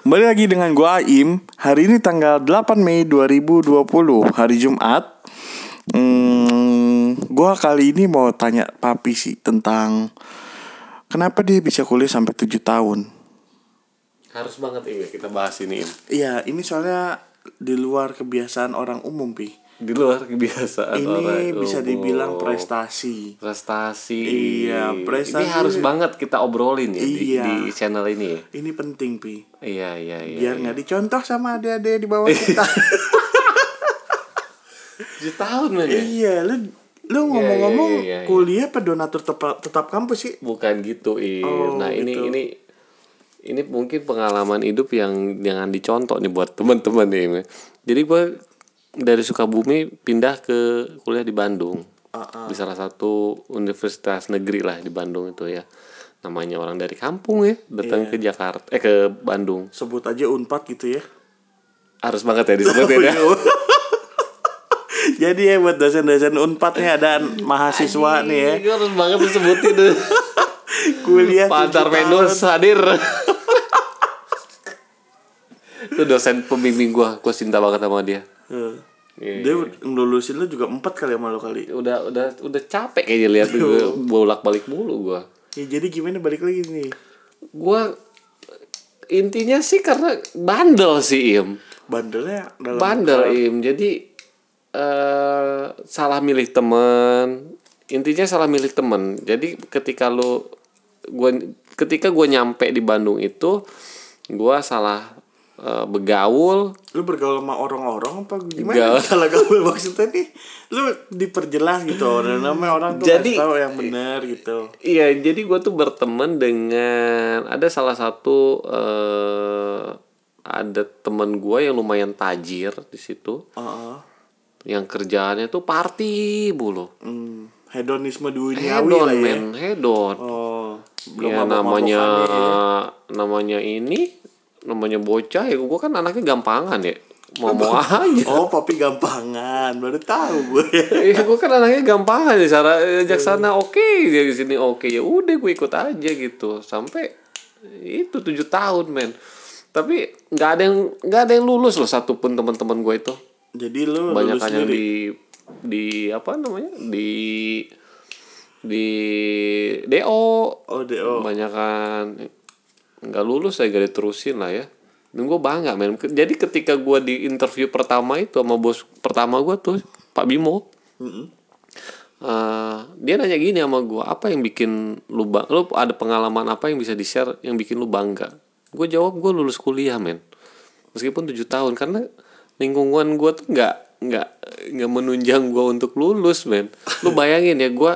Kembali lagi dengan gua Aim. Hari ini tanggal 8 Mei 2020, hari Jumat. Hmm, gua kali ini mau tanya papi sih tentang kenapa dia bisa kuliah sampai 7 tahun. Harus banget ini kita bahas ini. Im. Iya, ini soalnya di luar kebiasaan orang umum, Pi. Di luar kebiasaan orang Ini bisa umum. dibilang prestasi. prestasi. Iya, prestasi. Ini harus banget kita obrolin ya di, Iya. di channel ini. ya. Ini penting, Pi. Iya, iya, iya. Biar nggak dicontoh sama adik-adik di bawah kita. Tujuh tahun aja. iya, lu lu ngomong-ngomong iya, iya, iya. kuliah apa donatur tetap, tetap kampus sih? Bukan gitu, Im. Oh, nah, ini gitu. ini ini mungkin pengalaman hidup yang jangan dicontoh nih buat teman-teman nih. Im. Jadi gue dari Sukabumi pindah ke kuliah di Bandung. Ah, Di salah satu universitas negeri lah di Bandung itu ya. Namanya orang dari kampung ya, datang Iya. ke Jakarta eh ke Bandung. Sebut aja Unpad gitu ya. Harus banget ya disebutin Oh, ya. Jadi ya buat dosen-dosen Unpad nih ada mahasiswa nih ya. Ini Iya, harus banget disebutin. Kuliah Pantar tujuh Venus hadir. itu dosen pembimbing gua, gua cinta banget sama dia. tahun. Eh, Iya, Dia ngelulusin lu juga empat kali sama lu kali. Udah udah udah capek kayaknya lihat gua bolak-balik mulu gua. Ya, jadi gimana balik lagi nih? Gua intinya sih karena bandel sih Im. Bandelnya dalam Bandel Im. Jadi eh salah milih temen intinya salah milih temen jadi ketika lu gua ketika gua nyampe di Bandung itu gua salah eh, begaul lu bergaul sama orang-orang apa Gaul. gimana? Kalau gaul maksudnya nih lu diperjelas gitu orang namanya orang tuh Jadi- kasih tahu yang benar gitu. Iya, jadi gue tuh berteman dengan ada salah satu eh ada teman gue yang lumayan tajir di situ, Heeh. yang kerjaannya tuh party bulu, Hmm, hedonisme duniawi hedon lah ya. men, hedon. Oh, belum Ya namanya namanya ini, namanya bocah ya gue kan anaknya gampangan ya, mau mau aja. Oh, papi gampangan. Baru tahu gue. Iya, gue kan anaknya gampang aja cara ajak Iya. sana oke dari sini oke ya udah gue ikut aja gitu sampai itu tujuh tahun men tapi nggak ada yang nggak ada yang lulus loh satupun teman-teman gue itu Jadi lu banyak lulus yang sendiri. di di apa namanya di di do Oh, DO. kebanyakan nggak lulus saya gak diterusin lah ya dan gue bangga men Ke- jadi ketika gue di interview pertama itu sama bos pertama gue tuh Pak Bimo Mm-mm. eh, dia nanya gini sama gue apa yang bikin lu bang lu ada pengalaman apa yang bisa di share yang bikin lu bangga gue jawab gue lulus kuliah men meskipun tujuh tahun karena lingkungan gue tuh nggak nggak nggak menunjang gue untuk lulus men lu bayangin ya gue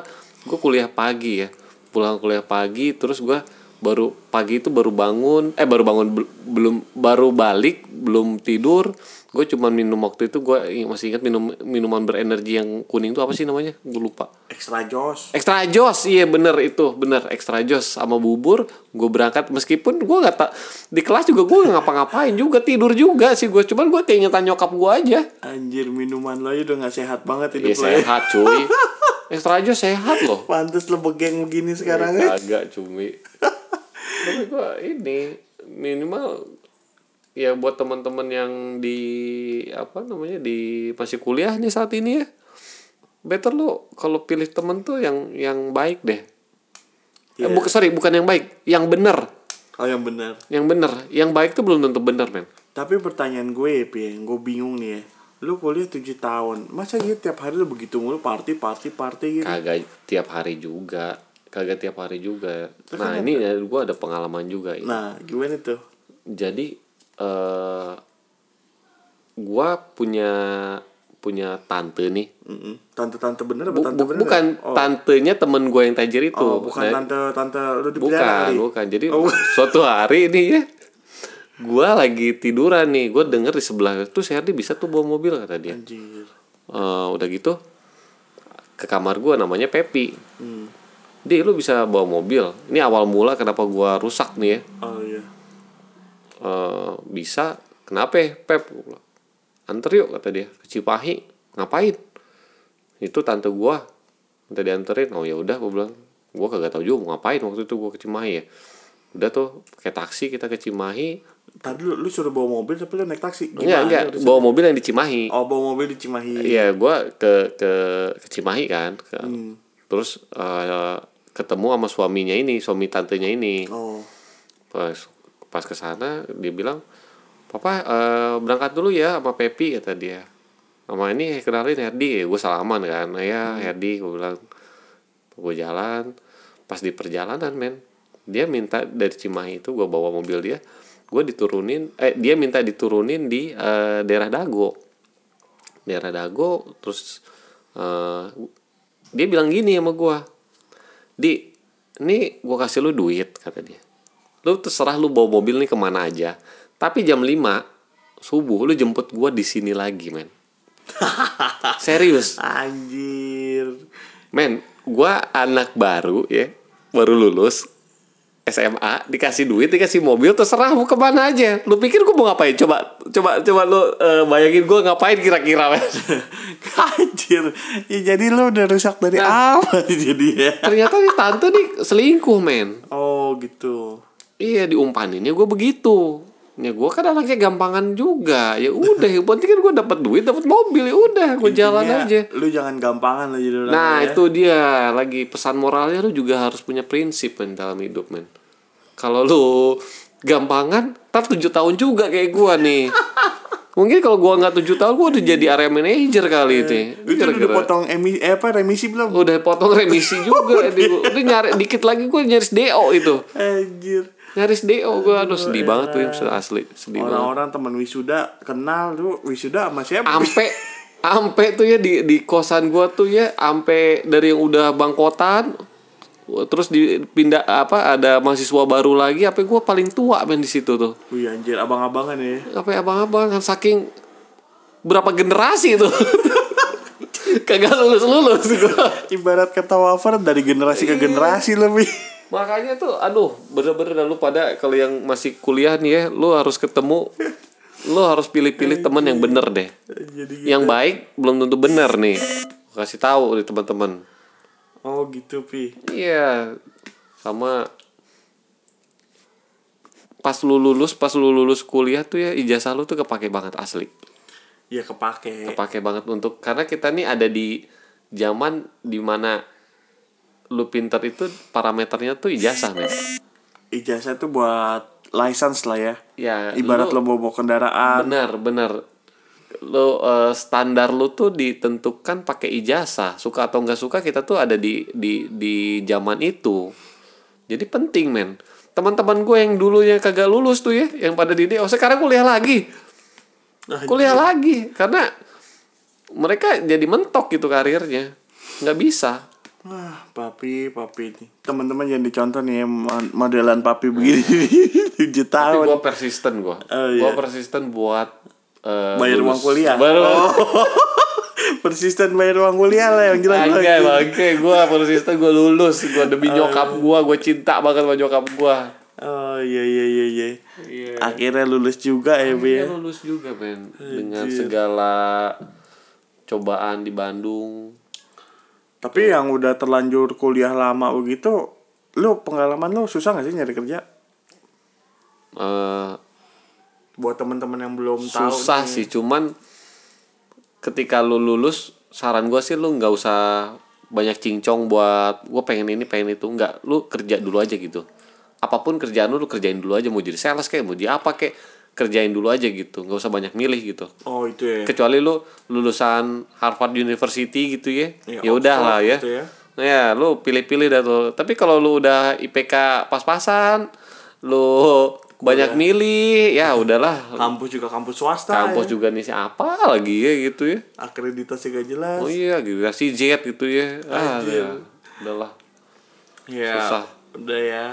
gue kuliah pagi ya pulang kuliah pagi terus gue baru pagi itu baru bangun eh baru bangun bel- belum baru balik belum tidur gue cuman minum waktu itu gue masih ingat minum minuman berenergi yang kuning itu apa sih namanya gue lupa Extra jos. Extra jos, iya bener itu, bener extra jos sama bubur. Gue berangkat meskipun gue nggak tak di kelas juga gue nggak ngapa-ngapain juga tidur juga sih gue. Cuman gue keingetan nyokap gue aja. Anjir, minuman lo aja udah gak sehat banget hidup Iya lo ya. sehat cuy. Extra jos sehat loh. Pantes lo begeng Iya. begini sekarang ya. Agak cumi. Tapi gue ini minimal ya buat teman-teman yang di apa namanya di masih kuliah nih saat ini ya. Better lo kalau pilih temen tuh yang yang baik deh. Eh, bukan sorry, bukan yang baik, yang bener, Oh, yang benar. yang bener, yang baik tuh belum tentu bener men. Tapi pertanyaan gue, Pi, yang gue bingung nih ya. Lu kuliah 7 tahun. Masa gitu tiap hari lu begitu mulu party, party, party gitu? Kagak tiap hari juga, kagak tiap hari juga. Nah ini dari gua ada pengalaman juga. ya. Nah, gimana tuh? Jadi eh gua punya punya tante nih. Mm-mm. Tante-tante bener apa Bu- tante bu- bener? bukan tantenya temen gue yang tajir itu. Oh, bukan Nah, tante-tante lu di penjara Bukan, kali? bukan. Jadi Oh, bukan. suatu hari ini ya gua lagi tiduran nih, gua denger di sebelah tuh Serdi bisa tuh bawa mobil kata dia. Anjir. Eh, udah gitu ke kamar gua namanya Pepi. Hmm. Di lu bisa bawa mobil. Ini awal mula kenapa gua rusak nih ya. Oh iya. Eh, bisa kenapa ya, Pep Gua bilang, anter yuk kata dia ke Cipahi ngapain itu tante gua minta dianterin oh ya udah gua bilang gua kagak tahu juga mau ngapain waktu itu gua ke Cimahi ya udah tuh pakai taksi kita ke Cimahi Tadi lu, lu suruh bawa mobil tapi lu naik taksi. enggak Gimana Iya, enggak lu disuruh- bawa mobil yang di Cimahi Oh, bawa mobil di Cimahi. Iya, gua ke ke ke Cimahi kan. Ke, Terus eh, ketemu sama suaminya ini, suami tantenya ini. Oh. Pas pas ke sana dia bilang, "Papa eh, berangkat dulu ya sama Pepi," kata dia. Sama ini kenalin Herdi, gue salaman kan. "Nah Ya Herdi gue bilang. Gue jalan pas di perjalanan, men. Dia minta dari Cimahi itu gua bawa mobil dia. Gue diturunin eh dia minta diturunin di eh, daerah Dago daerah Dago terus eh, dia bilang gini sama gua di ini gua kasih lu duit kata dia lu terserah lu bawa mobil nih kemana aja tapi jam 5 subuh lu jemput gua di sini lagi men serius Anjir. men gua anak baru ya baru lulus SMA dikasih duit dikasih mobil terserah mau kemana aja lu pikir gua mau ngapain coba coba coba lu eh, bayangin gua ngapain kira-kira men Anjir. Ya jadi lu udah rusak dari Nah. awal jadi ya. ternyata nih tante nih selingkuh men Oh, gitu. iya diumpaninnya gue begitu ya gue kan anaknya gampangan juga ya udah yang penting kan gue dapat duit dapat mobil ya udah gue jalan Intinya, aja Lu jangan gampangan lah jadi orang nah ya. itu dia lagi pesan moralnya lu juga harus punya prinsip men dalam hidup men kalau lu gampangan ntar tujuh tahun juga kayak gue nih mungkin kalau gue nggak tujuh tahun gue udah jadi area manager kali itu ya. Itu udah dipotong emisi eh, apa remisi belum? udah potong remisi juga ini gua. udah nyari dikit lagi gue nyaris do itu Anjir. nyaris do gue aduh sedih banget tuh Im, asli sedih banget Orang-orang teman wisuda kenal lu wisuda sama siapa? ampe ampe tuh ya di di kosan gue tuh ya ampe dari yang udah bangkotan terus dipindah apa ada mahasiswa baru lagi apa gue paling tua main di situ tuh Wih anjir, abang-abangan ya. apa abang-abang kan saking berapa generasi itu kagak lulus lulus gue Ibarat kata wafer dari generasi Iya. ke generasi lebih. Makanya tuh aduh bener-bener dah lu pada kalau yang masih kuliah nih ya lu harus ketemu lu harus pilih-pilih temen yang bener deh. Jadi gitu. Yang baik belum tentu bener nih. Gua Kasih tahu nih teman-teman. Oh gitu Pi. Iya. Sama pas lu lulus, pas lu lulus kuliah tuh ya ijazah lu tuh kepake banget asli. Ya kepake. Kepake banget untuk karena kita nih ada di zaman dimana lu pinter itu parameternya tuh ijazah men. Ijazah tuh buat license lah ya. Ya, Ibarat lo lu- bawa, bawa kendaraan. benar benar lo eh, standar lo tuh ditentukan pakai ijazah suka atau nggak suka kita tuh ada di di di zaman itu jadi penting men teman-teman gue yang dulunya kagak lulus tuh ya yang pada di oh sekarang kuliah lagi Nah, iya. kuliah lagi karena mereka jadi mentok gitu karirnya nggak bisa Wah, Ah, papi, papi nih. Teman-teman yang dicontoh nih mod- modelan papi begini 7 Iya. tapi tahun. gue persisten gue Oh, gue iya. persisten buat eh, Bayar uang lulus. kuliah. Baru- Persisten bayar uang kuliah lah yang jelas. Bangke, bangke, gue persisten gue lulus, gue demi nyokap gue, gue cinta banget sama nyokap gue. Oh iya iya iya iya. Iya. Akhirnya lulus juga ya, Bi. ya. lulus juga men, dengan segala cobaan di Bandung. Tapi yang udah terlanjur kuliah lama begitu, lu pengalaman lu susah gak sih nyari kerja? Eh, Buat temen-temen yang belum tahu. susah sih, cuman ketika lu lulus, saran gue sih lu nggak usah banyak cincong buat gue pengen ini pengen itu nggak lu kerja dulu aja gitu apapun kerjaan lu lu kerjain dulu aja mau jadi sales kayak mau jadi apa kayak kerjain dulu aja gitu nggak usah banyak milih gitu Oh itu ya. kecuali lu lulusan Harvard University gitu ya Ya, ya udah lah Oxford ya gitu ya. nah ya lu pilih-pilih dah tuh tapi kalau lu udah IPK pas-pasan lu banyak milih ya udahlah Kampus juga kampus swasta. kampus ya. juga nih apa lagi ya gitu ya Akreditasi gak jelas. oh iya gitu si jet gitu ya ah Anjir. ya. udahlah Ya, Susah. Udah ya.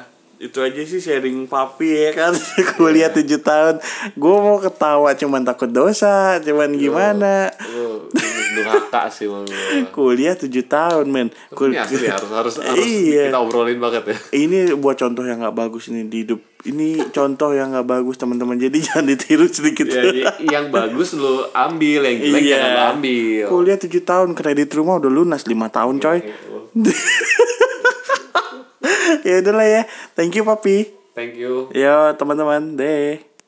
Itu aja sih sharing papi ya kan. Iya. Kuliah 7 tahun. Gue mau ketawa cuman takut dosa, Iya. cuman gimana. lu ini durhaka sih sama gua. Kuliah 7 tahun, men. Kul- ini asli harus harus harus Iya. kita obrolin banget ya ini buat contoh yang nggak bagus ini di hidup. Ini contoh yang nggak bagus, teman-teman. Jadi jangan ditiru sedikit. Jadi yang bagus lu ambil, yang jelek Iya. jangan lu ambil. Kuliah 7 tahun, kredit rumah udah lunas 5 tahun, Iya, iya. coy. ya udahlah ya. Thank you, papi. Thank you. Yo teman-teman, deh.